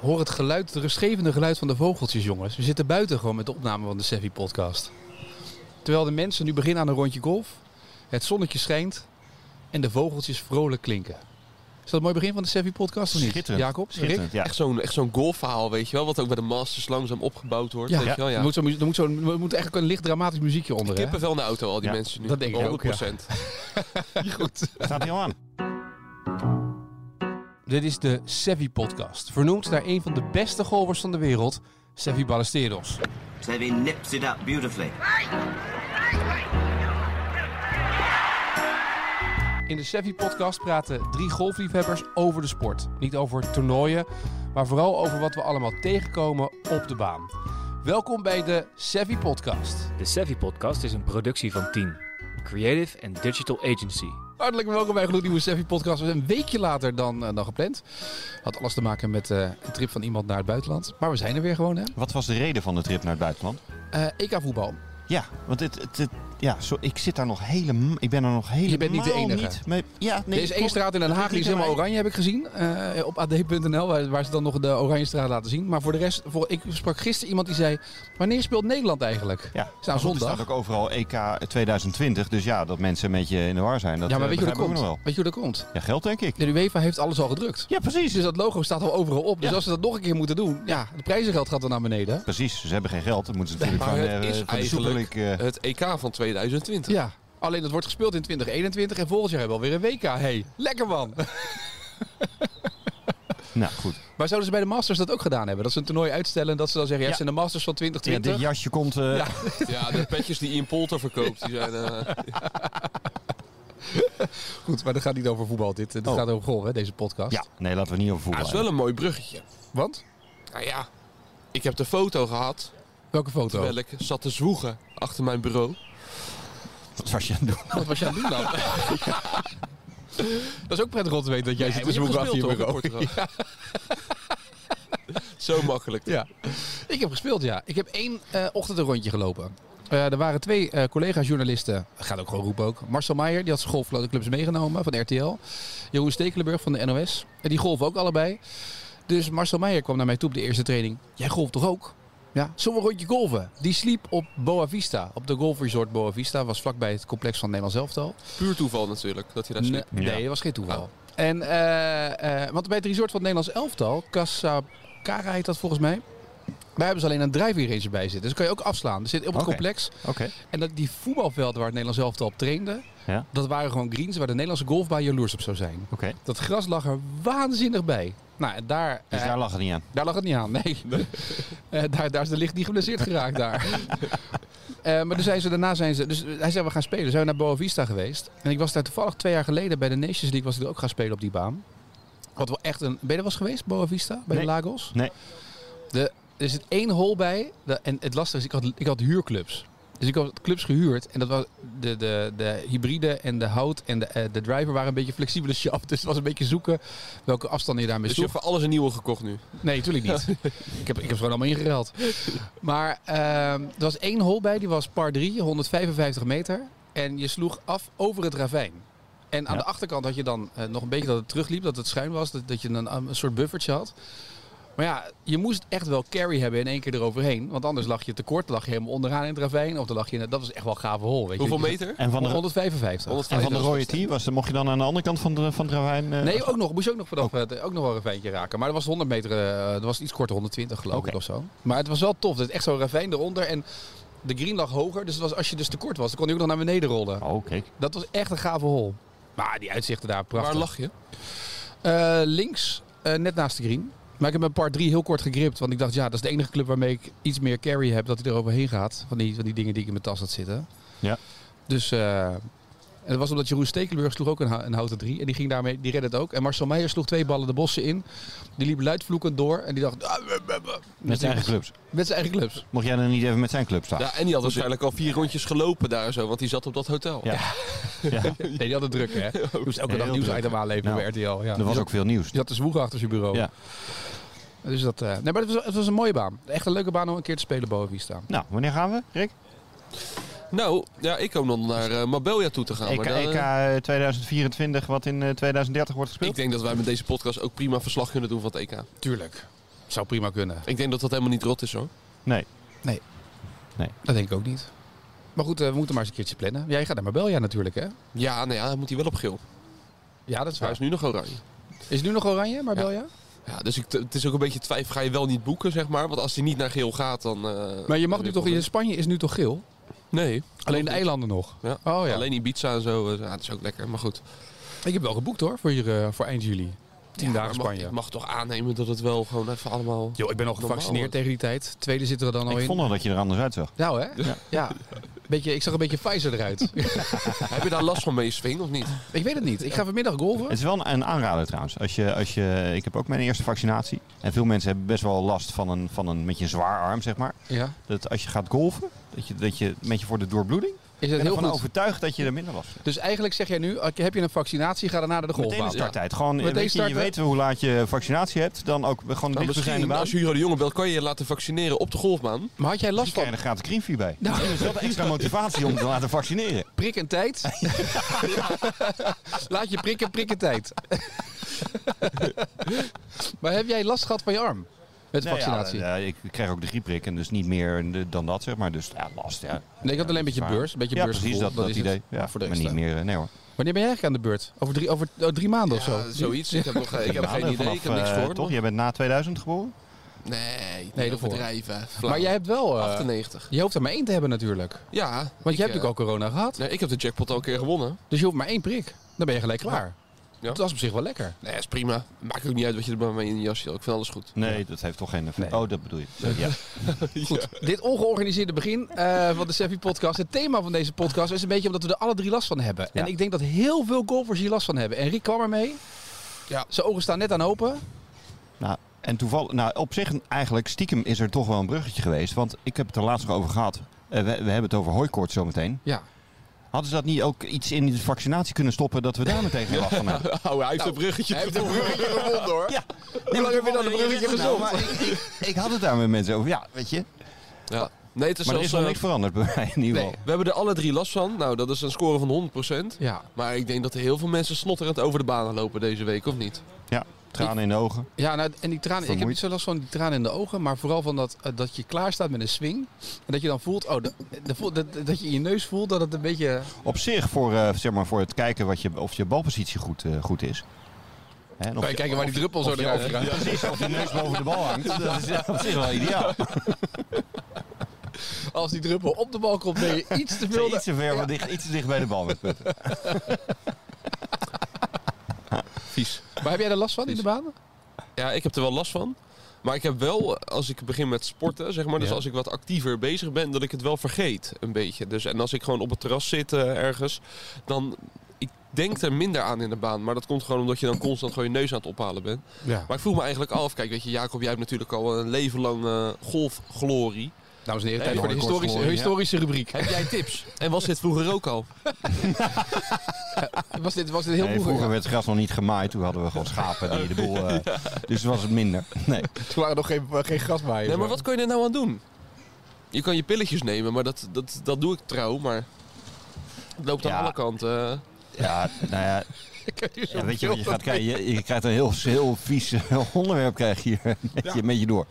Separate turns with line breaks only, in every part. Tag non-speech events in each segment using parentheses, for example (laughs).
Hoor het geluid, het rustgevende geluid van de vogeltjes, jongens. We zitten buiten gewoon met de opname van de Sevi podcast. Terwijl de mensen nu beginnen aan een rondje golf. Het zonnetje schijnt en de vogeltjes vrolijk klinken. Is dat een mooi begin van de Sevi podcast of niet?
Schitterend.
Jacob, Rick?
Schitterend, ja.
Echt zo'n echt zo'n golfverhaal, weet je wel. Wat ook bij de Masters langzaam opgebouwd wordt.
Oh Ja,
weet je wel,
Er,
ja.
moet zo, er, moet zo, er moet eigenlijk een licht dramatisch muziekje onder. hè?
Kippenvel in de auto, al die
Ja,
mensen nu.
dat denk ik ook,
100%.
Goed.
Staat heel aan.
Dit is de Sevi podcast. Vernoemd naar een van de beste golfers van de wereld, Sevi Ballesteros.
Seve nips it up beautifully.
In de Sevi podcast praten drie golfliefhebbers over de sport. Niet over toernooien, maar vooral over wat we allemaal tegenkomen op de baan. Welkom bij de Sevi podcast.
De Savvy Podcast is een productie van Team, Creative and Digital Agency.
Hartelijk welkom bij een gloednieuwe Sevi podcast. We zijn een weekje later dan, eh, dan gepland. Had alles te maken met eh, een trip van iemand naar het buitenland. Maar we zijn er weer gewoon hè.
(laughs) Wat was de reden van de trip naar het buitenland?
Eh EK voetbal.
Ja, want het, het, het- ja, zo, ik zit daar nog helemaal... Ik ben er nog helemaal
Je bent niet de enige.
niet mee- ja, nee,
er is één
klopt.
straat in Den
Dat
Haag, die is
niet
helemaal
aan mij.
oranje, heb ik gezien. eh, op ad.nl, waar, waar ze dan nog de oranje straat laten zien. Maar voor de rest, voor, ik sprak gisteren iemand die zei... Wanneer speelt Nederland eigenlijk?
Ja,
Is nou
maar goed,
zondag.
Er staat ook overal E EK 2020. Dus ja, dat mensen een beetje in de war zijn. Dat,
ja, maar
eh,
weet je, hoe dat
begrijp ik
komt?
ook nog
weet je hoe dat komt?
wel. Ja, geld denk ik.
De UEFA heeft alles al gedrukt.
Ja, precies.
Dus dat logo staat al overal op. Dus
Ja.
als ze dat nog een keer moeten doen... Ja, de prijzengeld gaat dan naar beneden.
Precies, ze hebben geen geld. Dan moeten ze natuurlijk
Maar
van,
het
eh,
is
van de Super
eigenlijk
League, eh,
Het EK van 2020.
Ja. Alleen dat wordt gespeeld in 2021 en volgend jaar hebben we alweer een WK. Hey, lekker man! (laughs)
nou, goed.
Maar zouden ze bij de Masters dat ook gedaan hebben? Dat ze een toernooi uitstellen en dat ze dan zeggen... Ja,
Ja.
het zijn de Masters van
Ja,
2020.
dit jasje komt... eh,
Ja.
Ja. de petjes die Ian Polter verkoopt, die zijn... eh,
Goed, maar dat gaat niet over voetbal dit. Het
Oh.
gaat over golf, hè, deze podcast.
ja, nee, laten we niet over
ja,
voetbal
het is wel een mooi bruggetje.
Want?
Nou ja, ik heb de foto gehad
Welke foto?
terwijl ik zat te zwoegen achter mijn bureau.
hebben. Wat was je aan het doen?
Wat was je aan het doen dan? (laughs) Dat is ook prettig om te weten dat jij zit te
maar je hebt
zoeken achter je
gespeeld,
bureau.
toch, in Portugal? (laughs) Zo makkelijk.
Ja. Ik heb gespeeld, ja. Ik heb één eh, ochtend een rondje gelopen. Eh, er waren twee eh, collega-journalisten, gaat ook gewoon roepen ook. Marcel Meijer, die had zijn golf van de clubs meegenomen van RTL. Jeroen Stekelenburg van de NOS. En die golven ook allebei. Dus Marcel Meijer kwam naar mij toe op de eerste training. Jij golft toch ook? Ja, zo'n rondje golven. Die sliep op Boa Vista, op de golfresort Boa Vista. Was vlakbij het complex van Nederland Elftal.
Puur toeval natuurlijk, dat hij daar
Nee,
sliep.
Ja.
nee, dat was geen toeval. Oh. En, eh, eh, want bij het resort van het Nederlands elftal, Casabcara heet dat volgens mij. Daar hebben ze alleen een driving range bij zitten. Dus kan je ook afslaan. Er zit op het
Oké.
complex.
Oké.
En dat, die voetbalvelden waar het Nederlands elftal op trainde,
Ja.
dat waren gewoon greens waar de Nederlandse golfbaan jaloers op zou zijn.
Oké.
Dat gras lag er waanzinnig bij. Nou, en daar,
Dus
eh,
daar lag het niet aan.
daar lag het niet aan,
(laughs)
nee. Eh, daar, daar is de licht niet geblesseerd geraakt daar. Eh, maar toen zijn ze, daarna zijn ze... Dus hij zei, we gaan spelen. Zijn we naar Boa Vista geweest. En ik was daar toevallig twee jaar geleden bij de Nations League... was ik er ook gaan spelen op die baan. Wat wel echt een... Ben je er wel eens geweest, Boa Vista? Bij de
Nee.
Lagos?
Nee.
De, er zit één hol bij. De- en het lastige is, ik had, ik had huurclubs. Dus ik had clubs gehuurd. En dat was de, de, de hybride en de hout en de, eh, de driver waren een beetje flexibele (laughs) shaft. Dus het was een beetje zoeken welke afstand je daarmee
Dus je
zoekt.
hebt voor alles een nieuwe gekocht nu.
Nee, natuurlijk niet.
(laughs)
ik, heb, ik heb ze gewoon allemaal ingereld. Maar ehm, er was één hol bij, die was par 3, 155 meter. En je sloeg af over het ravijn. En aan
Ja.
de achterkant had je dan eh, nog een beetje dat het terugliep, dat het schuin was, dat, dat je een, een soort buffertje had. Maar ja, je moest echt wel carry hebben in één keer eroverheen. Want anders lag je tekort, lag je helemaal onderaan in het ravijn. Of dan lag je, in- dat was echt wel een gave hol. Weet
Hoeveel
je. Dus
meter?
En van de,
155.
en van de
150.
rode tee, was, mocht je dan aan de andere kant van, de, van het ravijn... eh,
Nee, ook nog. Moest je ook nog vanaf eh, ook nog wel een ravijntje raken. Maar dat was 100 meter, eh dat was iets korter, 120 geloof
Oké.
ik of zo. Maar het was wel tof. Het echt zo'n ravijn eronder en de green lag hoger. Dus het was, als je dus te kort was, dan kon je ook nog naar beneden rollen.
Oh, kijk.
Dat was echt een gave hol. Maar die uitzichten daar, prachtig.
Waar lag je?
Eh, links, eh, net naast de green. Maar ik heb mijn par 3 heel kort gegript. Want ik dacht, ja, dat is de enige club waarmee ik iets meer carry heb. Dat hij er overheen gaat. Van die, van die dingen die ik in mijn tas had zitten.
Ja.
Dus... eh, en dat was omdat Jeroen Stekelenburg sloeg ook een, hou- een houten 3. En die ging daarmee, die redde het ook. En Marcel Meijer sloeg twee ballen de bossen in. Die liep luidvloekend door. En die dacht... ah, we- we- we-
Met zijn eigen clubs.
Met zijn eigen
(laughs)
clubs.
Mocht jij dan niet even met zijn club staan?
Ja, en die had waarschijnlijk al vier rondjes gelopen daar zo, want die zat op dat hotel.
Ja. (laughs) Ja.
Nee, die had het druk, hè. Die moest elke
Heel
dag
druk.
nieuwsitem aanleveren
Nou,
bij RTL. Ja.
Er was ook veel nieuws.
Die had de zwoegen achter zijn bureau.
Ja.
Dus dat... eh, nee, maar het was, het was een mooie baan. Echt een leuke baan om een keer te spelen boven wie staan.
Nou, wanneer gaan we, Rick?
Nou, ja, ik hoop nog naar eh, Marbella toe te gaan.
E Nou,
EK,
maar dan, eh,
EK 2024, wat in eh, 2030 wordt
ik
gespeeld?
denk dat wij met deze podcast ook prima verslag kunnen doen van het EK.
Tuurlijk. Zou prima kunnen.
Ik denk dat dat helemaal niet rot is hoor.
Nee.
Dat denk ik ook niet. Maar goed, eh, we moeten maar eens een keertje plannen. Jij gaat naar Marbella natuurlijk, hè?
Ja, nou ja, dan moet hij wel op geel.
Ja, dat is
Hij
waar.
is nu nog oranje.
Is het nu nog oranje, Marbella?
Ja, dus ik, het is ook een beetje twijfel. Ga je wel niet boeken, zeg maar? Want als hij niet naar geel gaat, dan... eh,
Maar je mag nu
dan weer
toch... In
problemen.
Spanje is nu toch geel?
Nee.
Alleen de eilanden nog.
Ja.
Oh ja.
Alleen Ibiza en zo. eh, ja, dat is ook lekker. Maar goed.
Ik heb wel geboekt hoor, voor, hier, eh, voor eind juli. Tien
Ja,
dagen
maar mag-
Spanje.
Ik mag toch aannemen dat het wel gewoon even allemaal...
Yo, ik ben al
Normaal,
gevaccineerd
hoor.
tegen die tijd. Tweede zitten er dan al
Ik
in.
vond al dat je er anders uitzag.
Nou hè? Ja. Beetje, ik zag een beetje Pfizer eruit.
Heb je daar last van mee, Swing, of niet?
ik weet het niet. Ik ga vanmiddag golven.
Het is wel een aanrader trouwens. Als je, als je, ik heb ook mijn eerste vaccinatie. En veel mensen hebben best wel last van een, van een, met je zwaar arm, zeg maar.
Ja.
Dat als je gaat golfen, dat je, dat je een beetje voor de doorbloeding.
Is
Ik
het
ben
heel
ervan
goed?
overtuigd dat je er minder last van hebt.
Dus eigenlijk zeg jij nu, eh, heb je een vaccinatie, ga daarna naar de
Meteen de
golfbaan.
starttijd. Gewoon,
Meteen
weet je, je
starten.
weet hoe laat je vaccinatie hebt. Dan ook gewoon
Nou,
dicht zijn de
misschien,
baan.
als
Misschien
Hugo de Jonge belt, kan je je laten vaccineren op de golfbaan.
Maar had jij last
krijg je
van
er gratis greenfee bij.
Nou.
(laughs)
(laughs)
Dat is wel de extra motivatie om te laten vaccineren.
prik en tijd? (laughs) Laat je prikken, prik en tijd. (laughs) maar heb jij last gehad van je arm? Met de
Nou ja,
vaccinatie?
ja, ik krijg ook de griepprik en dus niet meer de- dan dat, zeg maar. Dus ja, last, ja.
Nee, ik had alleen een beetje
Zwaar.
beurs. Een beetje
ja,
beursgevoel.
precies, dat, dat,
is het.
idee. Ja,
voor de
maar
rest,
niet
eh.
meer, eh, nee hoor.
Wanneer ben jij eigenlijk aan de beurt? Over drie, over, oh, drie maanden of zo?
Ja, zoiets. Ik heb, nog, ik heb geen
Maanden
idee. Ik heb niks
eh,
voor.
Toch, jij bent na 2000 geboren?
Nee,
Nee,
nee
daarvoor.
overdrijven.
maar jij hebt wel... eh,
98.
je hoeft er maar één te hebben natuurlijk. Want
Ja.
je hebt
eh,
natuurlijk ook corona gehad.
Nee, ik heb de jackpot al een keer gewonnen.
Dus je hoeft maar één prik. Dan ben je gelijk klaar.
Ja.
Dat is op zich wel lekker.
Nee, is prima. Maakt ook niet uit wat je er bij mij in je jasje had. Ik vind alles goed.
Nee, dat heeft toch geen effect.
Nee.
Oh, dat bedoel je. Sorry, ja.
Goed, dit ongeorganiseerde begin eh, van de Seffi podcast. Het thema van deze podcast is een beetje omdat we er alle drie last van hebben.
Ja.
En ik denk dat heel veel golfers hier last van hebben. En Rick kwam ermee.
Ja.
Zijn ogen staan net aan open.
Nou, en toevallig, nou, op zich eigenlijk stiekem is er toch wel een bruggetje geweest. Want ik heb het er laatst nog over gehad. Eh, we, we hebben het over hooikoorts zometeen.
Ja.
Hadden ze dat niet ook iets in de vaccinatie kunnen stoppen dat we daar meteen geen last van hebben?
Oh, hij heeft een bruggetje. Hij heeft een bruggetje gevonden hoor.
Ja.
Hoe lang heb je dan een bruggetje gezond?
maar ik, ik, ik had het daar met mensen over. Ja, weet je.
Ja. Nee, het is
Maar er
zelfs,
is nog
eh,
niks veranderd bij mij in ieder geval.
We hebben er alle drie last van. Nou, dat is een score van 100%.
Ja.
Maar ik denk dat er heel veel mensen snotterend over de banen lopen deze week, of niet?
Ja, tranen in de ogen.
Ja, nou, en die tranen, ik heb
Vermoeid.
niet zo last van die tranen in de ogen, maar vooral van dat, eh, dat je klaar staat met een swing. En dat je dan voelt, oh, de- de voel- dat, dat je in je neus voelt dat het een beetje...
Op zich voor, eh, zeg maar, voor het kijken wat je, of je balpositie goed, eh, goed is. Hè, en of je-
kijken waar die druppel
of je- of je-
gaat.
Precies, of je neus boven de bal hangt. Dat is eh, op zich wel ideaal.
Als die druppel op de bal komt, ben je iets te veel...
Iets te ver, maar dicht, iets te dicht bij de bal met putten.
Vies.
Maar heb jij er last van in de baan?
Ja, ik heb er wel last van. Maar ik heb wel, als ik begin met sporten, zeg maar, dus
Ja.
als ik wat actiever bezig ben, dat ik het wel vergeet een beetje. Dus, en als ik gewoon op het terras zit eh, ergens, dan ik denk er minder aan in de baan. Maar dat komt gewoon omdat je dan constant gewoon je neus aan het ophalen bent.
Ja.
Maar ik vroeg me eigenlijk af, kijk, weet je, Jacob, jij hebt natuurlijk al een leven lang eh, golfglorie.
Dames en heren,
Heb
tijd
je
voor de
nog een
historische,
kortsloring,
historische rubriek.
Heb jij tips? En was dit vroeger ook al?
Was dit, was dit heel
Nee,
vroeger?
vroeger
ja.
werd het gras nog niet gemaaid. Toen hadden we gewoon schapen die de boel... eh, Dus was het minder. Nee.
Toen waren er nog geen, eh, geen grasmaaiers.
Nee, maar wat kan je er nou aan doen? Je kan je pilletjes nemen, maar dat, dat, dat doe ik trouw, maar het loopt
Ja.
aan alle kanten. eh.
Ja, nou ja,
(laughs) Ik heb hier zo'n
ja, weet je wat je
beeld.
gaat krijgen? Je, je krijgt een heel, heel vies eh, onderwerp krijg je hier met, je, met je door.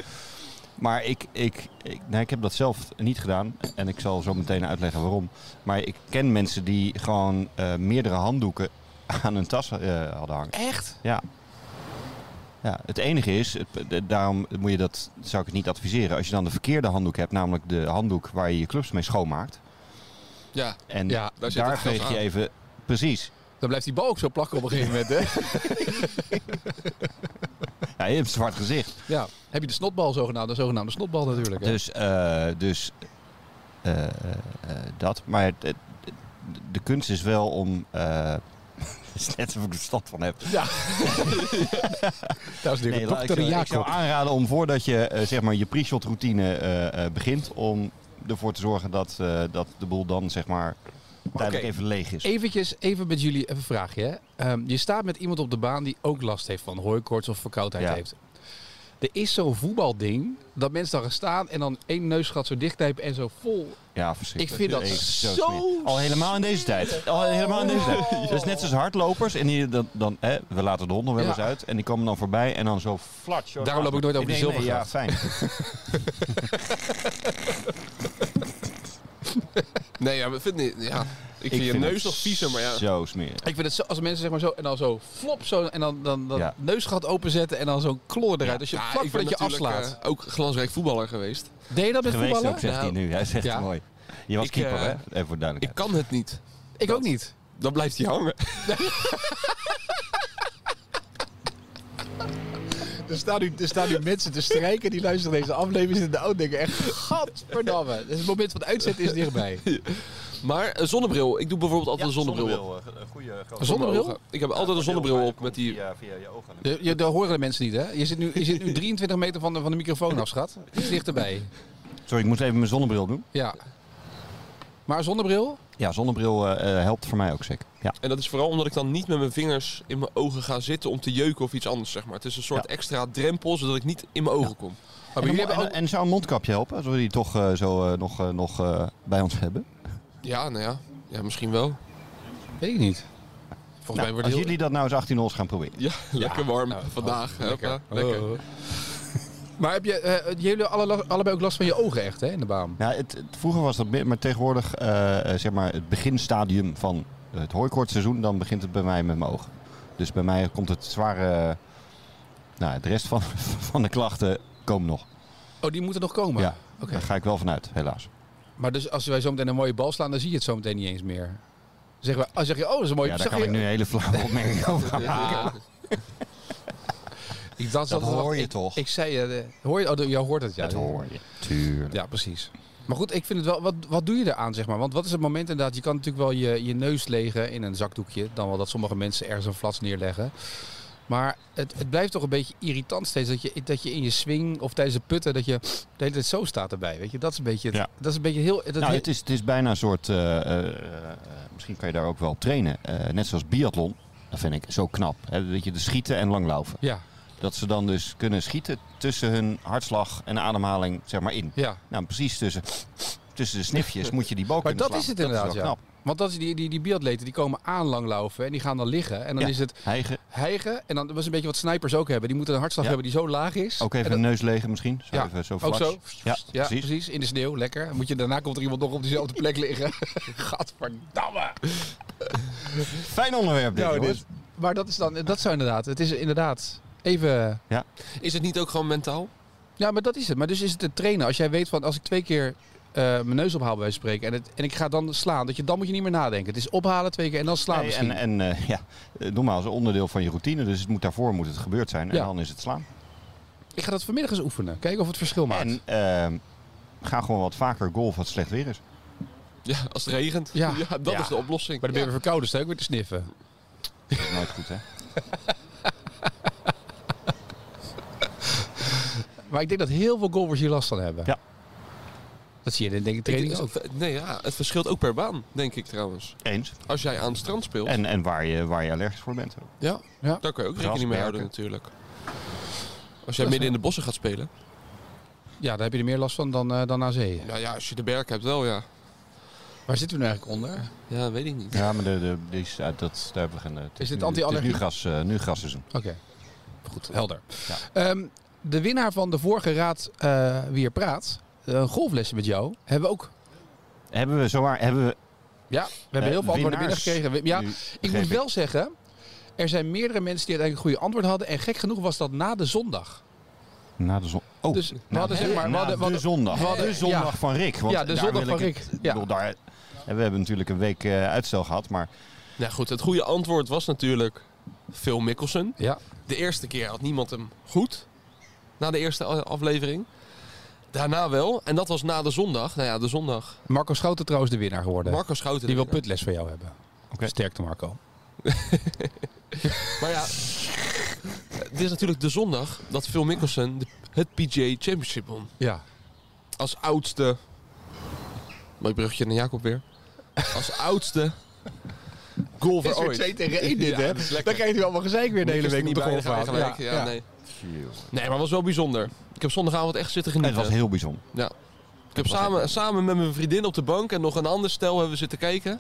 Maar ik, ik, ik, nou, ik heb dat zelf niet gedaan. En ik zal zo meteen uitleggen waarom. Maar ik ken mensen die gewoon eh, meerdere handdoeken aan hun tas eh, hadden hangen.
Echt?
Ja. Ja, het enige is, het- de- daarom moet je dat, zou ik het niet adviseren. Als je dan de verkeerde handdoek hebt, namelijk de handdoek waar je je clubs mee schoonmaakt.
Ja,
En
Ja, daar
daar,
zit het gras
veeg je
aan.
even, precies.
Dan blijft die bal ook zo plakken op een gegeven (laughs) moment, hè?
Ja, je hebt een zwart gezicht.
Ja. Heb je de snotbal zogenaamd? De zogenaamde snotbal natuurlijk. hè?
Dus, eh, dus eh, eh, dat. Maar het- het- de kunst is wel om. eh, (laughs) het is net alsof ik er stand van heb.
Ja. Daar is natuurlijk
laat-
dokter
ik, zou- ik zou
Jacob.
aanraden om voordat je eh, zeg maar je pre-shot routine eh, eh, begint, om ervoor te zorgen dat, eh, dat de boel dan zeg maar tijdelijk
Oké.
even leeg is.
Eventjes, even met jullie even een vraagje. Hè? Ehm, je staat met iemand op de baan die ook last heeft van hooikoorts of verkoudheid
Ja.
heeft. Er is zo'n voetbalding dat mensen dan gaan staan en dan één neusgat zo dichtknijpen en zo vol.
Ja,
Ik
verschrikkelijk.
vind dat
Echt
zo
smerig. Al helemaal in deze tijd. Al helemaal in deze tijd. Dat is net zoals hardlopers. En die, dan, dan, hè, we laten de honden wel
Ja.
eens uit. En die komen dan voorbij en dan zo flat. zo
Daarom loop ik nooit over de
denk, nee, Ja,
zilvergracht.
fijn.
Nee, ja, we vinden, ja, ik vind je
vind
neus
het
nog viezer, maar ja.
Zo smerig.
Ik vind het zo, als mensen zeg maar zo en dan zo flop zo en dan, dan, dan
Ja.
neusgat openzetten en dan zo'n kloor eruit. Als je
Ja,
vlak
ik ben
voordat je
natuurlijk,
afslaat.
eh, ook glansrijk voetballer geweest.
Deed je dat met
Geweest
voetballen?
ook, zegt hij
Nou,
nu. Hij zegt
ja.
het mooi. Je was
Ik,
keeper,
eh,
hè? Even voor de
Ik
duidelijkheid.
kan het niet.
Ik ook niet.
Dan blijft hij hangen.
Er staan, nu, er staan nu mensen te strijken die luisteren deze aflevering en de oud denken echt, gadverdamme. Dus het moment van uitzet is (laughs) dichtbij.
Maar een zonnebril. Ik doe bijvoorbeeld altijd een zonnebril, op.
Goede
Zonnebril?
Ogen. Ik heb altijd een zonnebril op met die...
Via, je ogen.
Je, je, dat horen de mensen niet, hè? Je zit nu, je zit nu 23 meter van de, van de microfoon af, schat. Iets dichterbij.
Sorry, ik moest even mijn zonnebril doen.
Ja. Maar zonnebril?
Ja, zonnebril eh, eh, helpt voor mij ook zeker. Ja.
En dat is vooral omdat ik dan niet met mijn vingers in mijn ogen ga zitten om te jeuken of iets anders, zeg maar. Het is een soort
Ja.
extra drempel, zodat ik niet in mijn ogen kom.
Maar jullie
En, een mo-
hebben ook...
en- en zou een mondkapje helpen? Als we die toch eh, zo eh, nog, eh, nog eh, bij ons hebben?
Ja, nou ja. Ja, misschien wel.
Weet ik niet. Volgens mij
Nou,
wordt
als
heel...
jullie dat nou eens 18 hols gaan proberen.
Ja, lekker warm vandaag. Hoppa,
Oh.
lekker.
Maar heb je, eh, jullie alle, la- allebei ook last van je ogen echt, hè, in de baan?
Ja, Nou, het, het- vroeger was dat meer, maar tegenwoordig eh, eh, zeg maar het beginstadium van het hooikortseizoen, dan begint het bij mij met mijn ogen. Dus bij mij komt het zware, eh, nou de rest van, (laughs) van de klachten komen nog.
Oh, die moeten nog komen?
ja,
oké.
daar ga ik wel vanuit, helaas.
Maar dus als wij zo meteen een mooie bal slaan, dan zie je het zo meteen niet eens meer. Zeg, maar, als zeg je, oh, dat is een mooie...
Ja, daar
zeg
kan
je,
ik nu een hele flauwe opmerking over maken.
Ja.
Ik dacht
Dat
altijd wel-
hoor je
ik-
toch?
Ik zei, eh, de- hoor je, oh, de- jou hoort het, ja.
Dat hoor je. Tuurlijk.
Ja, precies. Maar goed, ik vind het wel, wat, wat doe je eraan, zeg maar? Want wat is het moment inderdaad, je kan natuurlijk wel je, je neus legen in een zakdoekje. Dan wel dat sommige mensen ergens een flats neerleggen. Maar het, het blijft toch een beetje irritant steeds dat je, dat je in je swing of tijdens het putten, dat je de hele tijd zo staat erbij, weet je. Dat is een beetje, het-
Ja.
dat is een beetje heel... Dat
nou,
heel-
het is, het is bijna een soort. eh, eh, eh, misschien kan je daar ook wel op trainen. Eh, net zoals biathlon. Dat vind ik zo knap. Hè? Dat je de schieten en langlaufen.
Ja,
Dat ze dan dus kunnen schieten tussen hun hartslag en ademhaling, zeg maar in.
ja.
Nou, precies tussen, tussen de snifjes moet je die bal
Maar
kunnen
dat is
slaan.
het inderdaad,
wel
ja.
knap.
Want dat is die, die, die biatleten, die komen aan langlaufen en die gaan dan liggen. En dan
Ja.
is het
Hijgen,
hijgen. En dan dat was een beetje wat snipers ook hebben. Die moeten een hartslag
Ja.
hebben die zo laag is.
ook
En
even
dat-
de neus legen misschien. Zo
Ja,
even zo
ook
vlaks.
zo.
Ja,
Ja, precies.
precies.
In de sneeuw, lekker. Moet je, daarna komt er iemand nog op diezelfde plek
(laughs)
liggen. Gadverdamme.
Fijn onderwerp dit,
Nou,
jongens.
dit- maar dat is dan, dat zou inderdaad, het is inderdaad even...
Is het niet ook gewoon mentaal?
Ja, maar dat is het. Maar dus is het te trainen. Als jij weet van, als ik twee keer eh, mijn neus ophaal bij wijze van spreken en, het, en ik ga dan slaan, dat je, dan moet je niet meer nadenken. Het is ophalen twee keer en dan slaan
Nee,
misschien.
en en eh, ja, eh, normaal is een onderdeel van je routine. Dus het moet daarvoor moet het gebeurd zijn. En
Ja.
dan is het slaan.
Ik ga dat vanmiddag eens oefenen. Kijken of het verschil maakt.
En ehm, ga gewoon wat vaker golf wat slecht weer is.
Ja, als het regent.
Ja.
(laughs) Ja, dat
Ja.
is de oplossing.
Maar dan ben je
Ja.
weer verkouden, sta je ook weer te sniffen.
Dat is nooit goed, hè?
Maar ik denk dat heel veel golfers hier last van hebben.
Ja.
Dat zie je in de
Ik denk
training ook.
dat- Nee, ja, het verschilt ook per baan, denk ik trouwens.
Eens.
Als jij aan het strand speelt,
En, en waar, je, waar je allergisch voor bent. ook.
ja,
Ja.
daar kan je ook
Gras,
rekening
berken.
mee houden natuurlijk. Als jij midden in de bossen gaat spelen.
Ja, daar heb je er meer last van dan, eh, dan aan zee.
Nou ja, als je de berg hebt wel, ja.
Waar zitten we nu eigenlijk onder?
Ja, weet ik niet.
Ja, maar de, de, die is, uit dat, daar hebben we geen... eh, het
Is dit
nu-
anti-allergie?
Het is nu, gras, eh, nu grasseizoen.
Oké. Goed, helder.
Ja.
Ehm, de winnaar van de vorige raad eh, Wie er praat, een golflessen met jou, hebben we ook.
Hebben we zowaar... Hebben we,
Ja, we hebben
Eh,
heel veel antwoorden
winnaars.
binnengekregen. We- Ja,
nu,
ik
begreep
moet wel zeggen, er zijn meerdere mensen die uiteindelijk een goede antwoord hadden. En gek genoeg was dat na de zondag.
Na de zon. Oh,
Dus we
na
hadden
de,
zeg maar- we
na
hadden- we
de
hadden-
zondag.
we hadden-
de zondag
ja.
van Rick. Want
Ja, de
daar
zondag
wil ik
van
het-
Rick,
ik
ja.
bedoel, daar, en we hebben natuurlijk een week eh, uitstel gehad. Maar
Nou goed, het goede antwoord was natuurlijk Phil Mickelson.
Ja.
De eerste keer had niemand hem goed. Na de eerste a- aflevering. Daarna wel. En dat was na de zondag. Nou ja, de zondag.
Marco Schouten trouwens de winnaar geworden.
Marco Schouten.
die wil putles van jou hebben.
Oké.
Sterkte Marco.
Maar ja, het is natuurlijk de zondag dat Phil Mickelson de- het PGA Championship won.
Ja.
Als oudste... Mooi bruggetje naar Jacob weer. Als oudste
goal
Is
voor
er
ooit.
twee
tegen
één dit, hè? Dan
krijgt hij allemaal gezeik weer de hele week op de golf.
gelijk. Ja, Nee. nee, maar was wel bijzonder. Ik heb zondagavond echt zitten
En het
genieten.
was heel bijzonder.
ik heb
was
samen, samen met mijn vriendin op de bank en nog een ander stel hebben we zitten kijken.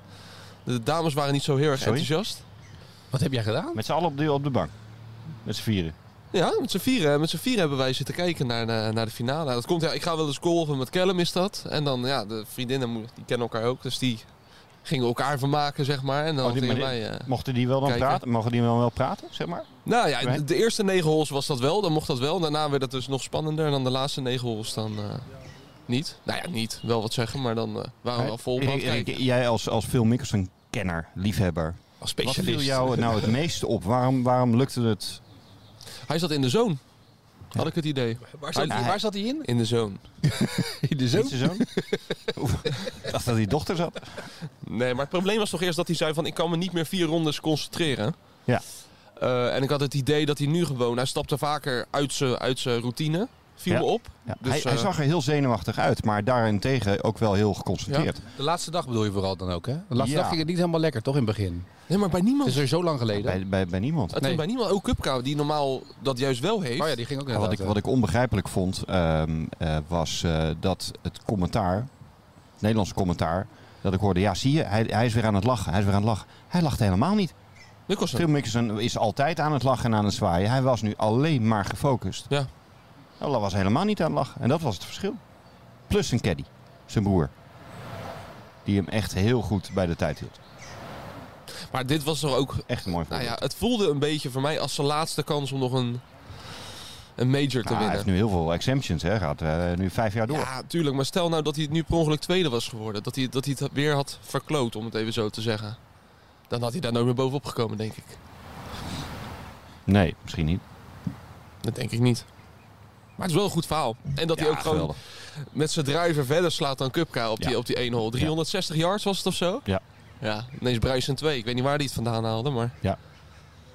De dames waren niet zo heel erg
Sorry?
enthousiast.
Wat heb jij
(laughs)
gedaan?
Met z'n allen op de, op de bank. Met z'n vieren.
Ja, met z'n vieren, met z'n vieren hebben wij zitten kijken naar de, naar de finale. Dat komt, ja, ik ga wel eens golven met Callum is dat. En dan, ja, de vriendinnen mo- die kennen elkaar ook. Dus die gingen elkaar vermaken, zeg maar. En dan
Oh, die
tegen
manier-
mij... eh,
Mochten die wel dan
Kijken.
praten? Mogen die dan wel praten, zeg maar?
Nou ja,
Right?
de- de eerste negen holes was dat wel, dan mocht dat wel. Daarna werd het dus nog spannender. En dan de laatste negen holes dan eh, niet. Nou ja, niet. Wel wat zeggen, maar dan eh, waren we wel vol op aan het
Erik, Erik,
kijken.
jij als, als Phil Mickelson kenner, liefhebber.
Als
Wat
specialist.
viel jou nou het meeste op? Waarom, waarom lukte het?
Hij zat in de zone. Had ik het idee.
Waar
zat hij- waar
zat hij in?
In de zone.
In de
Niet zo? Oeh, Ik dacht dat die dochter zat.
Nee, maar het probleem was toch eerst dat hij zei van... ik kan me niet meer vier rondes concentreren.
Ja.
Eh, en ik had het idee dat hij nu gewoon... hij stapte vaker uit zijn uit zijn routine. Viel
Ja.
me op.
Ja,
Dus,
hij, hij
eh,
zag er heel zenuwachtig uit, maar daarentegen ook wel heel geconcentreerd.
De laatste dag bedoel je vooral dan ook, hè? De laatste
Ja.
dag ging het niet helemaal lekker, toch, in het begin?
Nee, maar bij niemand.
Het is er zo lang geleden.
Bij, bij, bij niemand.
Het was
Nee.
Bij niemand. Ook Kupka, die normaal dat juist wel heeft.
Oh ja, die ging ook
Ja, wat, ik, wat ik onbegrijpelijk vond, ehm, eh, was eh, dat het commentaar, het Nederlandse commentaar, dat ik hoorde, ja zie je, hij, hij is weer aan het lachen, hij is weer aan het lachen. Hij lachte helemaal niet.
Nicholson.
Phil Mickelson is altijd aan het lachen en aan het zwaaien. Hij was nu alleen maar gefocust.
Ja.
Allah was helemaal niet aan het lachen. En dat was het verschil. Plus zijn caddy, zijn broer. Die hem echt heel goed bij de tijd hield.
Maar dit was toch ook...
Echt een mooi
Nou
voorbeeld.
ja, het voelde een beetje voor mij als zijn laatste kans om nog een, een major te
Nou, hij
winnen.
heeft nu heel veel exemptions. Hè. Gaat eh, nu vijf jaar door.
Ja, tuurlijk. Maar stel nou dat hij nu per ongeluk tweede was geworden. Dat hij, dat hij het weer had verkloot, om het even zo te zeggen. Dan had hij daar nooit meer bovenop gekomen, denk ik.
Nee, misschien niet.
Dat denk ik niet. Maar het is wel een goed verhaal. En dat hij
Ja,
ook gewoon
geweldig.
met zijn drijver verder slaat dan Kupka op
Ja.
die, op die 1 hole. 360 yards was het of zo?
Ja.
Ja, ineens Bryson 2. Ik weet niet waar hij het vandaan haalde, maar...
Ja,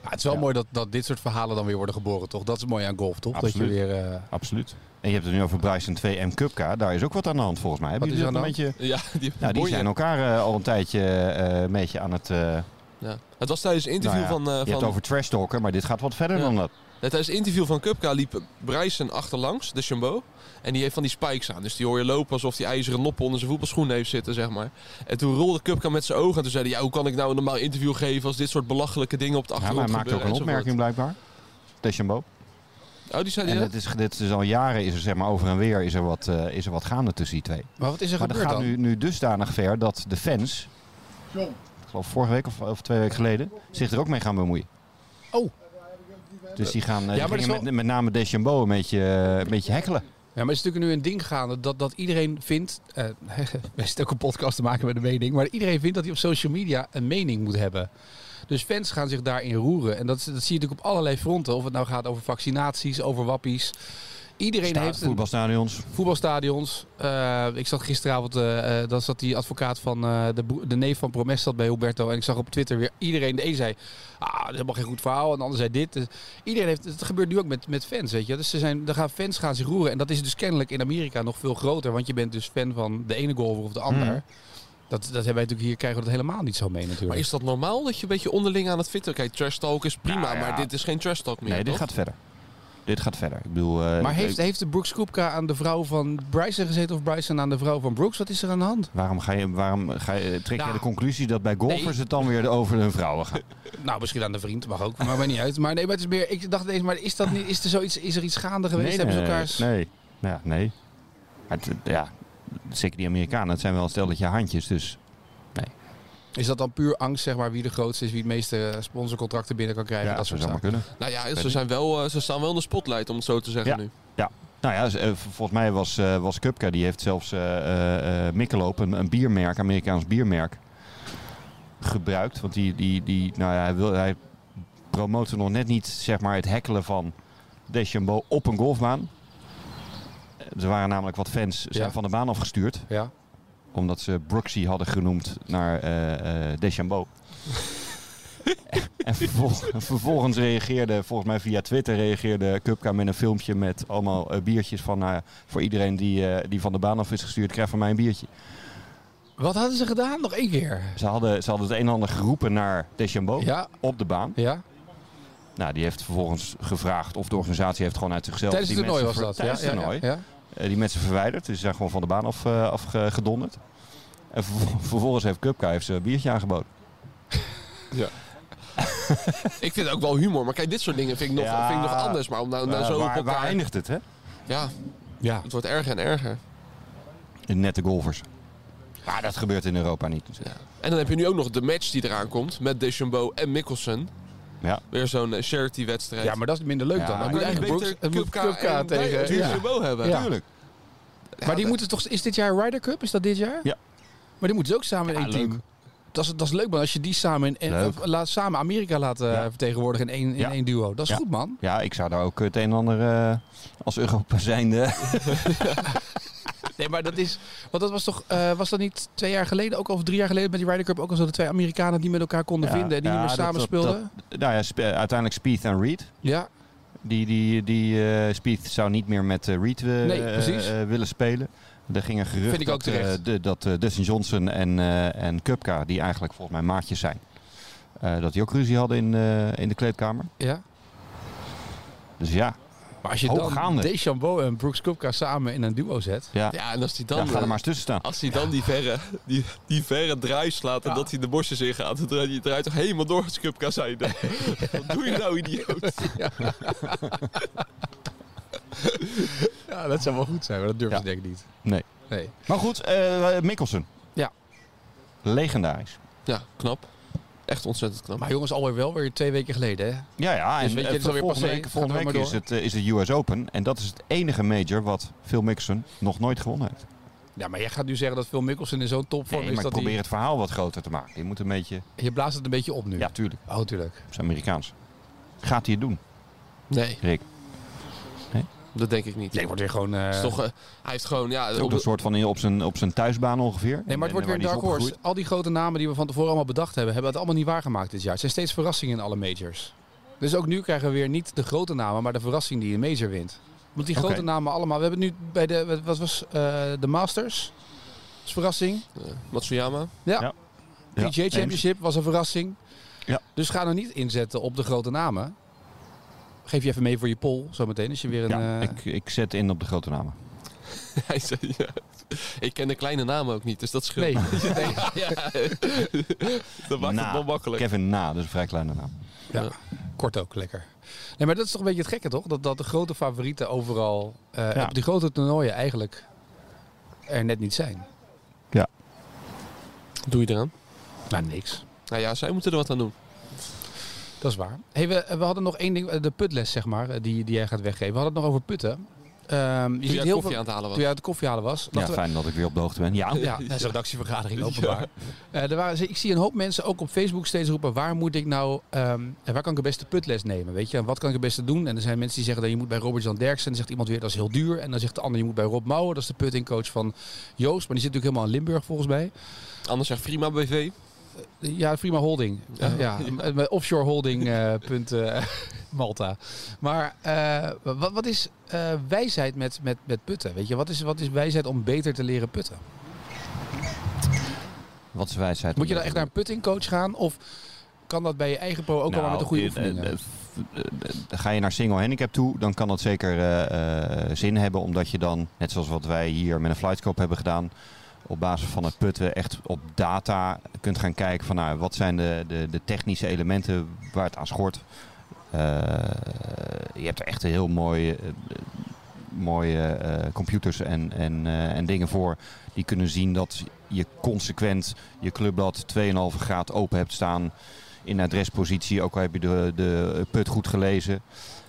het is wel
Ja.
mooi dat, dat dit soort verhalen dan weer worden geboren, toch? Dat is mooi aan golf, toch? Dat
Absoluut.
je weer... eh,
Absoluut. En je hebt het nu over Bryson 2 en Cupka. Daar is ook wat aan de hand volgens mij. Hebben
Wat
jullie
is
dat
er
een beetje...
(laughs) Ja, die,
Nou, die
Bonje.
zijn elkaar eh, al een tijdje eh, een beetje aan het... eh,
Ja. Het was tijdens een interview
nou ja,
van... eh,
je
van
hebt het over trash talken, maar dit gaat wat verder
Ja.
dan dat.
Ja, tijdens het interview van Cupka liep Bryson achterlangs, de Chambeau. En die heeft van die spikes aan. Dus die hoor je lopen alsof die ijzeren noppen onder zijn voetbalschoen heeft zitten, zeg maar. En toen rolde Cupka met zijn ogen en toen zei hij... Ja, hoe kan ik nou een normaal interview geven als dit soort belachelijke dingen op de
Ja, maar
achtergrond
hij maakt ook
gebeuren
een
enzovoort.
opmerking blijkbaar. Deschambeau.
Oh, die zei
En
hij
het is, dit is al jaren is er zeg maar over en weer is er wat, eh, is er wat gaande tussen die twee.
Maar wat is er
Maar dat
gebeurd
gaat
dan?
nu, nu dusdanig ver dat de fans, ik geloof vorige week of, of twee weken geleden, zich er ook mee gaan bemoeien.
Oh.
Dus die gaan eh, die
maar dat is
gingen
wel-
met, met name Deschambeau een beetje, eh, een beetje hekkelen.
Ja, maar het is natuurlijk nu een ding gaande dat, dat iedereen vindt... eh (laughs) we zitten ook een podcast te maken met een mening. Maar iedereen vindt dat hij op social media een mening moet hebben. Dus fans gaan zich daarin roeren. En dat, is- dat zie je natuurlijk op allerlei fronten. Of het nou gaat over vaccinaties, over wappies. Iedereen
Sta-
heeft een
voetbalstadions.
voetbalstadions. Eh, ik zat gisteravond, eh eh, dan zat die advocaat van eh, de, broer- de neef van Promes zat bij Huberto. En ik zag op Twitter weer iedereen. De een zei, ah, dat is helemaal geen goed verhaal. En de ander zei dit. Dus iedereen heeft, het gebeurt nu ook met, met fans, weet je. Dus ze zijn, dan gaan fans gaan zich roeren. En dat is dus kennelijk in Amerika nog veel groter. Want je bent dus fan van de ene golfer of de ander.
Mm.
Dat, dat hebben wij natuurlijk hier, krijgen we dat helemaal niet zo mee natuurlijk.
Hmm. Maar is dat normaal dat je een beetje onderling aan het fitten... Kijk, trash talk is prima,
Nou ja.
maar dit is geen trash talk meer,
Nee, dit
toch?
gaat verder. Dit gaat verder. Ik bedoel, eh,
Maar heeft,
ik-
heeft de Brooks Koepka aan de vrouw van Bryson gezeten of Bryson aan de vrouw van Brooks? Wat is er aan de hand?
waarom, ga je, waarom ga je, trek
Nou.
je de conclusie dat bij golfers
Nee.
het dan weer over hun vrouwen gaat?
Nou, misschien aan de vriend, mag ook, maar mij niet uit. Maar nee, maar het is meer, ik dacht ineens, maar is, dat niet, is, er, zoiets, is er iets gaande geweest? Hebben ze elkaars...
Nee, ja, nee. Maar het, ja, zeker die Amerikanen, het zijn wel een stelletje handjes, dus...
Is dat dan puur angst, zeg maar, wie de grootste is, wie het meeste eh, sponsorcontracten binnen kan krijgen?
Ja,
dat
dat zou
soort
zomaar
zaken.
kunnen.
Nou ja,
Weet
ze,
niet.
zijn wel, eh, ze staan wel in de spotlight, om het zo te zeggen
Ja.
nu.
Nou ja, z- eh, v- volgens mij was, eh was Cupka, die heeft zelfs eh eh, eh, Michelob, een, een biermerk, Amerikaans biermerk, gebruikt. Want die, die, die, nou ja, hij, wil, hij promote nog net niet zeg maar, het hekkelen van Deschambeau op een golfbaan. Eh, Er waren namelijk wat fans zijn
Ja.
van de baan afgestuurd.
Ja.
Omdat ze Brooksy hadden genoemd naar eh eh Deschambeau. en vervol- vervolgens reageerde, volgens mij via Twitter, reageerde Cupka met een filmpje met eh, allemaal eh, biertjes van... nou ja, voor iedereen die, eh, die van de baan af is gestuurd, krijgt van mij een biertje.
Wat hadden ze gedaan? Nog één keer.
Ze hadden, ze hadden het een en ander geroepen naar Deschambault
Ja,
Oh. op de baan.
ja.
Nou, die heeft vervolgens gevraagd of de organisatie heeft gewoon uit zichzelf...
Tijdens het
die
toernooi was
mensen ver-
dat.
Tijdens
ja,
het
ja,
toernooi.
ja, ja.
eh, die mensen verwijderd. Dus ze zijn gewoon van de baan af, eh, afgedonderd. En vervol- vervolgens heeft Cupka heeft ze een biertje aangeboden.
Ik vind het ook wel humor, maar kijk, dit soort dingen vind ik nog,
Ja.
vind ik nog anders. Maar om nou, nou
Eh,
zo op
waar, waar
elkaar...
eindigt het, hè?
Ja,
Ja.
het wordt erger en erger.
De nette golfers. Maar dat gebeurt in Europa niet. Dus,
En dan heb je nu ook nog de match die eraan komt met Deschambault en Mikkelsen.
Ja.
Weer zo'n eh, charity-wedstrijd.
ja, maar dat is minder leuk
Ja,
dan. Dan
maar
moet
Kan je
eigenlijk
beter
Brooks, het moet
Kupka
Kupka
en
tegen... eh, ja.
Deschambault hebben.
Ja.
Tuurlijk.
Ja,
Maar die
dat-
moeten toch... Is dit jaar Ryder Cup? Is dat dit jaar?
Ja.
Maar die moeten ze ook samen in
Ja,
één team.
leuk.
Dat is, dat is leuk, man. Als je die samen, in, en,
Leuk.
of laat, samen Amerika laat eh,
Ja.
vertegenwoordigen in één, in
Ja.
één duo. Dat is
Ja.
goed, man.
Ja, ik zou daar ook het een en ander eh, als Europa zijnde...
Nee, maar dat is... Want dat was toch... eh, was dat niet twee jaar geleden ook al, of drie jaar geleden met die Ryder Cup ook al zo de twee Amerikanen die met elkaar konden
Ja,
vinden en die
ja,
niet meer
dat-
samen
dat-
speelden?
(laughs) nou ja, sp- eh, uiteindelijk Speed en Reed.
ja.
Die, die, die eh, Spieth zou niet meer met eh, Reed eh,
Nee,
eh,
precies.
eh, willen spelen. Er ging een gerucht
Vind ik ook
dat, eh,
terecht.
de- dat eh, Dustin Johnson en, eh en Kupka, die eigenlijk volgens mij maatjes zijn, eh, dat die ook ruzie hadden in, eh, in de kleedkamer.
ja.
Dus ja,
Maar als je dan
Hooggaande.
Deschambeau en Brooks Koepka samen in een duo zet...
ja.
Ja, en als die dan...
ja, ga er
eh,
maar eens tussen staan.
Als hij dan die verre, die, die verre draai slaat en dat hij de bosjes in gaat, dan draait hij draait toch helemaal door als Cupka
(laughs)
zijn. Wat doe je nou, idioot?
Ja, dat zou wel goed zijn, maar dat durf
Ja.
ze denk ik niet.
Nee.
Nee.
Maar goed, eh Mikkelsen.
Ja.
Legendarisch.
Ja, knap. Echt ontzettend knap.
Maar jongens, alweer wel weer twee weken geleden, hè?
Ja, ja. En,
Dus weet je,
en
het is alweer
volgende
passé.
week,
Gaat
volgende
er maar
week
door.
is, het, eh, is het US Open. En dat is het enige major wat Phil Mickelson nog nooit gewonnen heeft.
Ja, maar jij gaat nu zeggen dat Phil Mickelson in zo'n topvorm
Nee,
is
maar ik
dat
probeer
hij...
het verhaal wat groter te maken. Je moet een beetje...
Je blaast het een beetje op nu.
Ja, tuurlijk.
Oh, tuurlijk.
Dat is Amerikaans. Gaat hij het doen,
Nee,
Rick?
Eh,
dat denk ik niet.
Nee, het wordt weer gewoon... eh,
Is toch, eh, hij heeft gewoon, ja,
Ook
op
een
de-
soort van in- op zijn, op zijn thuisbaan ongeveer.
Nee, maar het
En-
wordt weer
en
een dark
waar die is
horse.
opgegroeid.
Al die grote namen die we van tevoren allemaal bedacht hebben, hebben het allemaal niet waargemaakt dit jaar. Het zijn steeds verrassingen in alle majors. Dus ook nu krijgen we weer niet de grote namen, maar de verrassing die een major wint. Want die
Oké.
grote namen allemaal... We hebben nu bij de... Wat was eh, de Masters? Dat is verrassing.
eh, Matsuyama. (laughs)
PGA
Ja. Nee,
Championship was een verrassing.
Ja.
Dus ga nou niet inzetten op de grote namen. Geef je even mee voor je poll zometeen. Als je weer een...
Ja,
eh,
ik, ik zet in op de grote namen.
Hij zei, ja. Ik ken de kleine namen ook niet, dus dat scheelt.
Nee.
Nee, ja. (laughs) Dat maakt
Na.
het wel makkelijk.
Kevin Na, dat is een vrij kleine naam.
Ja, kort ook lekker. Nee, maar dat is toch een beetje het gekke, toch? Dat, dat de grote favorieten overal eh,
Ja.
op die grote toernooien eigenlijk er net niet zijn.
Doe je eraan?
Nou, niks.
Nou ja, zij moeten er wat aan doen.
Dat is waar. Hey, we, we hadden nog één ding, eh, de putles, zeg maar, eh, die, die jij gaat weggeven. We hadden het nog over putten. Ehm, je
Toen jij
ziet
koffie
heel
aan
veel.
het halen was.
Toen je uit de koffie halen was,
Ja,
dachten we,
fijn dat ik weer op de hoogte ben. Ja,
Oh (laughs) Ja, dat is een redactievergadering openbaar. Eh, er waren, ik zie een hoop mensen ook op Facebook steeds roepen... waar moet ik nou... ehm, en waar kan ik het beste putles nemen? Weet je? En wat kan ik het beste doen? En er zijn mensen die zeggen... dat je moet bij Robert Jan Derksen. En dan zegt iemand weer dat is heel duur. En dan zegt de ander je moet bij Rob Mouwen. Dat is de puttingcoach van Joost. Maar die zit natuurlijk helemaal in Limburg volgens mij.
Anders zegt Prima BV.
Ja, Prima Holding.
Ja.
Eh, ja, eh, Offshore Holding eh, punt, eh, (laughs) Malta. Maar eh, wat, wat is eh, wijsheid met, met, met putten? Weet je? Wat, is, wat is wijsheid om beter te leren putten?
Wat is wijsheid?
Moet je dan echt naar een puttingcoach gaan? Of kan dat bij je eigen pro ook allemaal met een goede
eh, eh,
oefeningen?
eh, eh, Ga je naar single handicap toe, dan kan dat zeker eh, eh, zin hebben. Omdat je dan, net zoals wat wij hier met een flightscope hebben gedaan... op basis van het putten echt op data kunt gaan kijken... van nou, wat zijn de, de, de technische elementen waar het aan schort. Eh, je hebt er echt een heel mooie, eh, mooie eh, computers en, en, eh, en dingen voor... die kunnen zien dat je consequent je clubblad 2,5 graad open hebt staan in adrespositie. Ook al heb je de, de put goed gelezen.
er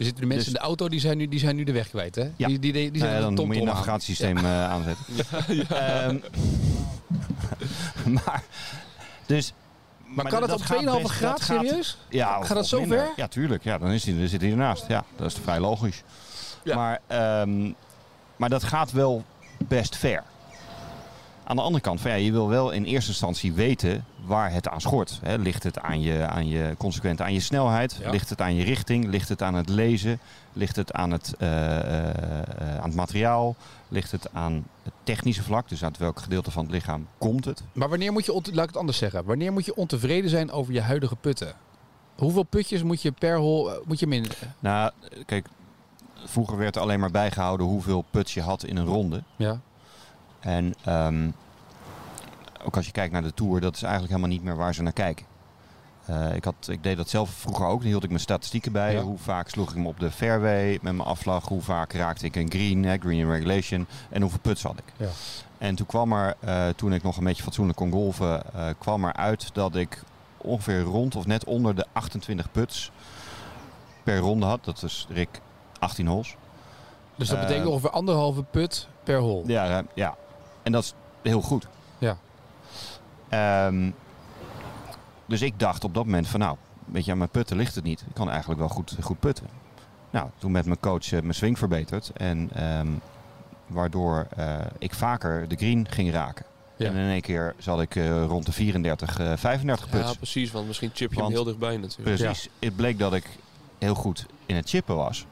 zitten nu mensen in
dus-
de auto, die zijn nu, die zijn nu de weg kwijt, hè?
Ja.
Die, die, die, die
Nou
zijn
ja,
aan
dan
de
moet
TomTom
je een
aan.
navigatiesysteem eh,
(laughs)
aanzetten. Ehm, (laughs) maar, dus,
Maar, kan het op 2,5 graad, serieus?
Ja,
Gaat dat
of
zo
minder.
ver?
Ja, tuurlijk. Ja, dan, is hij, dan zit hij ernaast. Ja, dat is vrij logisch.
Ja.
Maar, ehm, maar dat gaat wel best ver. Aan de andere kant, van, ja, je wil wel in eerste instantie weten waar het aan schort. Hè. Ligt het aan je, aan je, consequent aan je snelheid?
Ja.
Ligt het aan je richting? Ligt het aan het lezen? Ligt het aan het, eh, eh, eh, aan het materiaal? Ligt het aan het technische vlak? Dus uit welk gedeelte van het lichaam komt het?
Maar wanneer moet je, ont- laat ik het anders zeggen, wanneer moet je ontevreden zijn over je huidige putten? Hoeveel putjes moet je per hol, eh, moet je minder?
Nou, kijk, vroeger werd er alleen maar bijgehouden hoeveel put je had in een ronde.
Ja.
En ehm, ook als je kijkt naar de Tour, dat is eigenlijk helemaal niet meer waar ze naar kijken. Eh, ik, had, ik deed dat zelf vroeger ook. Daar hield ik mijn statistieken bij.
Ja.
Hoe vaak sloeg ik hem op de fairway met mijn afslag. Hoe vaak raakte ik een green, hè, green in regulation. En hoeveel puts had ik.
Ja.
En toen kwam er, eh, toen ik nog een beetje fatsoenlijk kon golven, eh, kwam er uit dat ik ongeveer rond of net onder de 28 puts per ronde had. Dat is Rick 18 holes.
Dus dat
Eh,
betekent ongeveer anderhalve put per hol.
Ja, ruim- ja. En dat is heel goed.
Ja.
Ehm, dus ik dacht op dat moment van nou, weet je, aan mijn putten ligt het niet. Ik kan eigenlijk wel goed, goed putten. Nou, toen met mijn coach eh, mijn swing verbeterd. En ehm, waardoor eh, ik vaker de green ging raken.
Ja.
En in één keer zat ik eh, rond de 34, eh, 35 puts.
Ja, precies. Want misschien chip je
Want-
hem heel dichtbij natuurlijk.
Precies. Het bleek dat ik heel goed in het chippen was.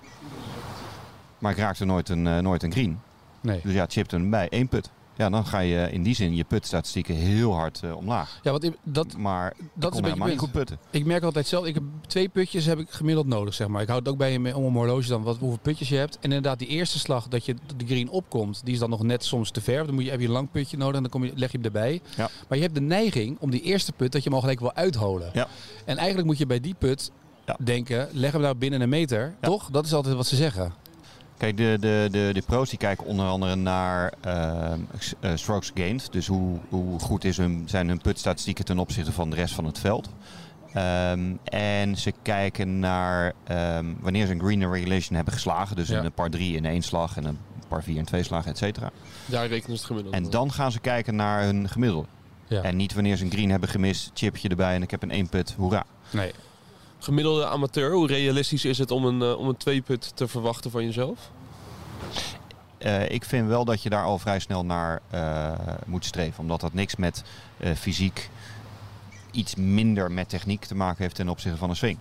Maar ik raakte nooit een, eh, nooit een green.
Nee.
Dus ja, chipte hem bij één put. Ja, dan ga je in die zin je putstatistieken heel hard eh, omlaag.
Ja, want ik- dat,
Maar
dat is
kon
een beetje
helemaal niet
punt.
goed putten.
Ik merk altijd zelf, ik heb twee putjes heb ik gemiddeld nodig, zeg maar. Ik houd het ook bij je mee om een horloge dan wat, hoeveel putjes je hebt. En inderdaad, die eerste slag dat je de green opkomt, die is dan nog net soms te ver. Dan moet je, heb je een lang putje nodig en dan kom je, leg je hem erbij.
Ja.
Maar je hebt de neiging om die eerste put dat je hem al gelijk wil uitholen.
Ja.
En eigenlijk moet je bij die put
Ja.
denken, leg hem nou binnen een meter.
Ja.
Toch? Dat is altijd wat ze zeggen.
Kijk, de, de, de, de pro's die kijken onder andere naar ehm, s- eh, strokes gained. Dus hoe, hoe goed is hun, zijn hun putstatistieken ten opzichte van de rest van het veld. Ehm, en ze kijken naar ehm, wanneer ze een green in regulation hebben geslagen. Dus
Ja.
een par 3 in één slag en een par 4 in twee slagen, et cetera.
Daar rekenen ze het gemiddelde.
En
op.
dan gaan ze kijken naar hun gemiddelde.
Ja.
En niet wanneer ze een green hebben gemist, chipje erbij en ik heb een één put, hoera.
Nee.
Gemiddelde amateur, hoe realistisch is het om een, eh, om een tweeput te verwachten van jezelf?
Eh, ik vind wel dat je daar al vrij snel naar eh, moet streven. Omdat dat niks met eh, fysiek iets minder met techniek te maken heeft ten opzichte van een swing.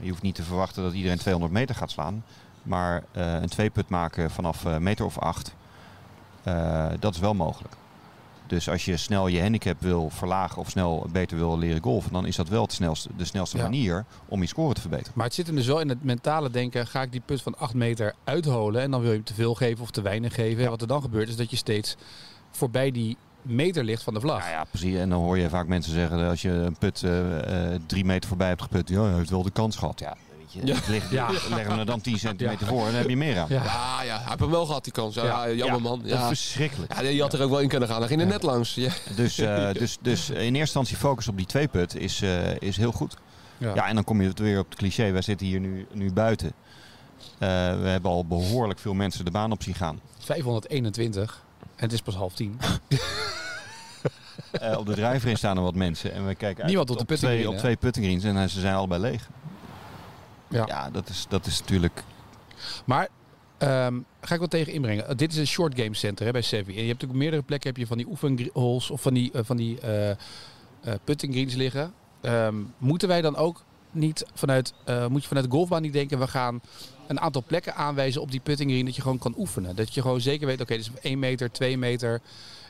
Je hoeft niet te verwachten dat iedereen 200 meter gaat slaan. Maar eh, een tweeput maken vanaf eh, meter of acht, eh, dat is wel mogelijk. Dus als je snel je handicap wil verlagen of snel beter wil leren golfen, dan is dat wel het snelste, de snelste
Ja.
manier om je score te verbeteren.
Maar het zit hem dus wel in het mentale denken. Ga ik die put van 8 meter uitholen en dan wil je hem te veel geven of te weinig geven. En wat er dan gebeurt is dat je steeds voorbij die meter ligt van de vlag.
Nou ja, precies. En dan hoor je vaak mensen zeggen dat als je een put eh, eh, drie meter voorbij hebt geput, ja, hij heeft wel de kans gehad. Ja, weet je,
Ja.
het ligt-
Ja.
leg hem er dan 10 centimeter voor en dan heb je meer aan.
Ja.
Ja, ja. Hij heeft hem wel gehad, die kans. Ja,
Ja.
jammer man.
Dat is
Ja.
verschrikkelijk.
Ja, je had er ook wel in kunnen gaan. Dan ging er net langs. Ja.
(laughs)
Dus, eh, dus, dus in eerste instantie focus op die twee put is, eh, is heel goed.
Ja.
Ja. en dan kom je weer op het cliché. Wij zitten hier nu, nu buiten. Eh, we hebben al behoorlijk veel mensen de baan op zien gaan.
521. En het is pas half tien.
Eh, op de drijfrin staan er wat mensen. En we kijken uit
Niemand op de puttinggreen,
twee, op
hè?
twee puttingreens en eh, ze zijn allebei leeg.
Ja.
Ja, dat, is, dat is natuurlijk
Maar ehm, ga ik wel tegen inbrengen. Eh, dit is een short game center hè, bij Sevi. En je hebt ook op meerdere plekken heb je van die oefenholes of van die, eh, van die eh, eh, putting greens liggen. Ehm, moeten wij dan ook niet vanuit, eh, moet je vanuit de golfbaan niet denken, we gaan een aantal plekken aanwijzen op die putting green dat je gewoon kan oefenen. Dat je gewoon zeker weet, oké, dit is 1 meter, 2 meter.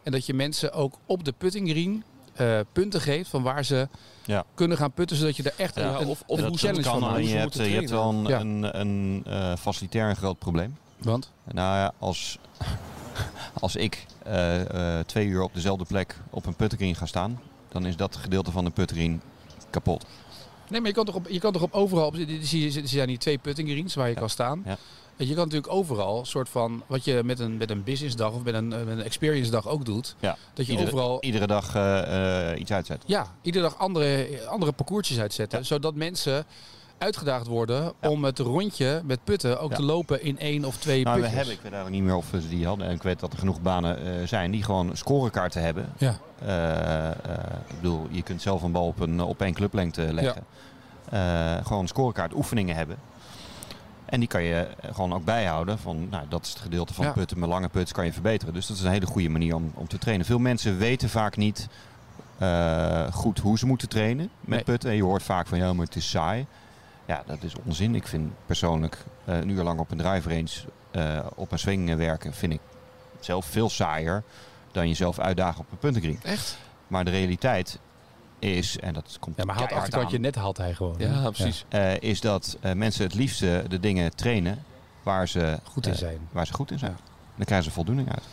En dat je mensen ook op de putting green eh, punten geeft van waar ze
Ja.
kunnen gaan putten, zodat je er echt
Ja,
een,
of-
of,
of
een
dat-
challenge
dat
van
kan,
maakt.
alleen
hoe
je
ze
hebt, eh,
moeten
je hebt wel een,
Ja.
een, een eh, facilitair een groot probleem.
Want?
Nou ja, als, (laughs) als ik eh, eh, twee uur op dezelfde plek op een puttergreen ga staan, dan is dat gedeelte van de puttergreen kapot.
Nee, maar je kan toch op, je kan toch op overal... op- die- die- die- Er zijn die twee putting greens waar je
Ja.
kan staan.
Ja.
En Je kan natuurlijk overal, soort van... Wat je met een, met een businessdag of met een, eh, met een experience dag ook doet.
Ja.
Dat je
Iedere-
Oh.
overal...
Iedere dag eh, eh, iets uitzet.
Ja, iedere dag andere, andere parcoursjes uitzetten. Zodat mensen uitgedaagd worden
Ja.
om het rondje met putten ook
Ja.
te lopen in één of twee
Nou, we
putjes.
hebben, ik weet eigenlijk niet meer of we ze die hadden. En ik weet dat er genoeg banen eh, zijn die gewoon scorekaarten hebben.
Ja.
Eh, eh, ik bedoel, je kunt zelf een bal op, een, op één clublengte leggen. Eh, gewoon scorekaart oefeningen hebben. En die kan je eh, gewoon ook bijhouden. Van, nou, dat is het gedeelte van
Ja.
putten. Mijn lange puts kan je verbeteren. Dus dat is een hele goede manier om, om te trainen. Veel mensen weten vaak niet eh, goed hoe ze moeten trainen met
Nee.
putten. En je hoort vaak van, ja, maar het is saai. Ja, dat is onzin. Ik vind persoonlijk eh, een uur lang op een drive range eh, op een swing eh, werken... vind ik zelf veel saaier dan jezelf uitdagen op een puntenkring.
Echt?
Maar de realiteit is, en dat komt
Ja, maar haalt
keihard
achterkantje
aan,
net haalt hij gewoon. hè?
Ja, precies.
eh, is dat eh, mensen het liefste de dingen trainen waar ze
Ja, Goed in
eh,
zijn.
waar ze goed in zijn. Dan krijgen ze voldoening uit.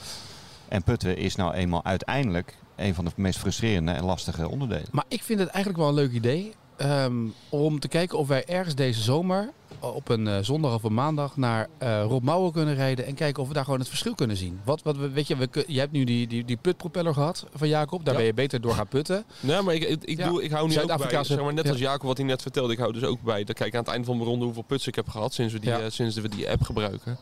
En putten is nou eenmaal uiteindelijk een van de meest frustrerende en lastige onderdelen.
Maar ik vind het eigenlijk wel een leuk idee ehm, om te kijken of wij ergens deze zomer op een eh, zondag of een maandag naar eh, Rob Mouwen kunnen rijden en kijken of we daar gewoon het verschil kunnen zien. Wat, wat we, weet je, we, kun- je hebt nu die, die, die putpropeller gehad van Jacob, daar
Ja.
ben je beter door gaan putten.
Nee, maar ik, ik, ik,
Ja.
doe, ik hou nu ook bij,
Zuid-Afrikaanse-
zeg maar, net
ja.
als Jacob wat hij net vertelde, ik hou dus ook bij, dat kijk ik aan het einde van mijn ronde hoeveel puts ik heb gehad sinds we die,
Ja.
eh, sinds we die app gebruiken.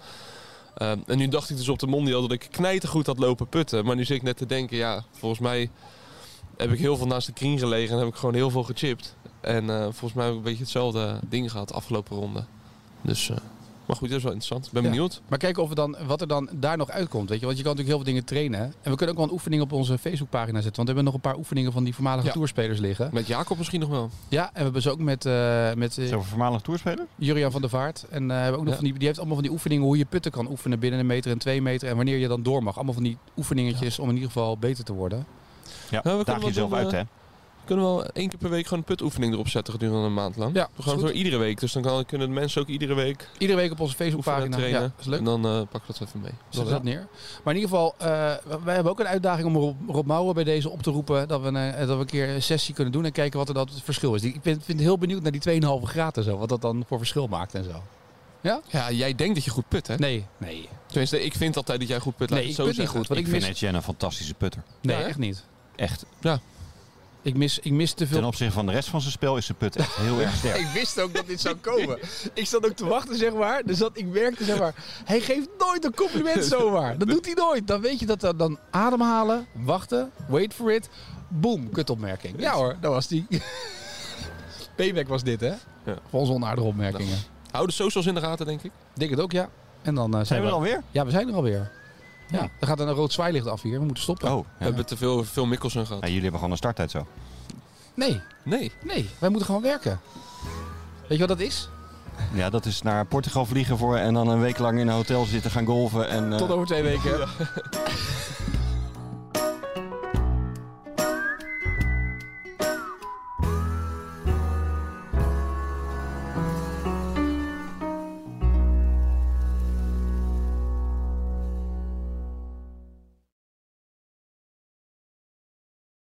Ehm, en nu dacht ik dus op de Mondial dat ik knijtergoed had lopen putten, maar nu zit ik net te denken, ja, volgens mij heb ik heel veel naast de green gelegen en heb ik gewoon heel veel gechipt. En eh, volgens mij heb ik een beetje hetzelfde ding gehad de afgelopen ronde. Dus, eh, maar goed, dat is wel interessant. Ik ben
Ja.
benieuwd.
Maar kijken of we dan, wat er dan daar nog uitkomt. Weet je? Want je kan natuurlijk heel veel dingen trainen. En we kunnen ook wel een oefening op onze Facebookpagina zetten. Want we hebben nog een paar oefeningen van die voormalige
Ja.
toerspelers liggen.
Met Jacob misschien nog wel.
Ja, en we hebben ze ook met, eh met eh,
Zijn we voormalig toerspeler?
Jurian van der Vaart. En eh, we hebben ook nog
Ja.
van die, die heeft allemaal van die oefeningen hoe je putten kan oefenen binnen een meter en twee meter. En wanneer je dan door mag. Allemaal van die oefeningetjes om in ieder geval beter te worden.
Ja,
kunnen
daag
wel
jezelf
doen,
uit,
eh,
hè?
Kunnen we wel één keer per week gewoon een putoefening erop zetten gedurende een maand lang?
Ja, is
Gewoon
goed.
door iedere week. Dus dan kan, kunnen de mensen ook iedere week
Iedere week op onze
oefenen
Facebookpagina.
en trainen.
Ja, is leuk.
En dan eh pak ik dat even mee.
Zet dat neer. Maar in ieder geval, eh, wij hebben ook een uitdaging om Rob, Rob Mouwen bij deze op te roepen. Dat we, een, eh, dat we een keer een sessie kunnen doen en kijken wat er dan het verschil is. Die- Ik ben, vind heel benieuwd naar die 2,5 graden en zo. Wat dat dan voor verschil maakt en zo.
Ja, jij denkt dat je goed put, hè?
Nee, nee.
Tenminste, ik vind altijd dat jij goed put. laat
Nee, ik
ik het zo
put niet
zeggen.
goed.
Ik,
Want ik,
vind
mis,
Etienne een fantastische putter.
nee,
Ja, hè?
echt niet.
Echt.
Ik mis, ik mis te
Ten
veel.
opzichte van de rest van zijn spel is zijn put echt heel erg sterk.
Ik wist ook dat dit
(laughs)
zou komen. ik zat ook te wachten, zeg maar. Dus dat, ik merkte, zeg maar, hij geeft nooit een
(laughs)
compliment zomaar. Dat doet hij nooit. Dan weet je dat er dan ademhalen, wachten, wait for it, boom, kutopmerking. Ja hoor, dat was die. (laughs) Payback was dit, hè?
Ja.
Voor onze onaardige opmerkingen.
Hou de socials in de gaten, denk ik.
Denk het ook, ja. En dan eh,
Zijn we er alweer?
Ja, we zijn er alweer. Ja, er gaat een rood zwaailicht af hier. We moeten stoppen.
Oh,
We
ja.
hebben te veel, veel Mikkelsen gehad.
Ja, jullie hebben gewoon een starttijd zo.
Nee,
Nee.
nee, wij moeten gewoon werken. Weet je wat dat is?
Ja, dat is naar Portugal vliegen voor en dan een week lang in een hotel zitten gaan golven. En, eh,
Tot over twee weken.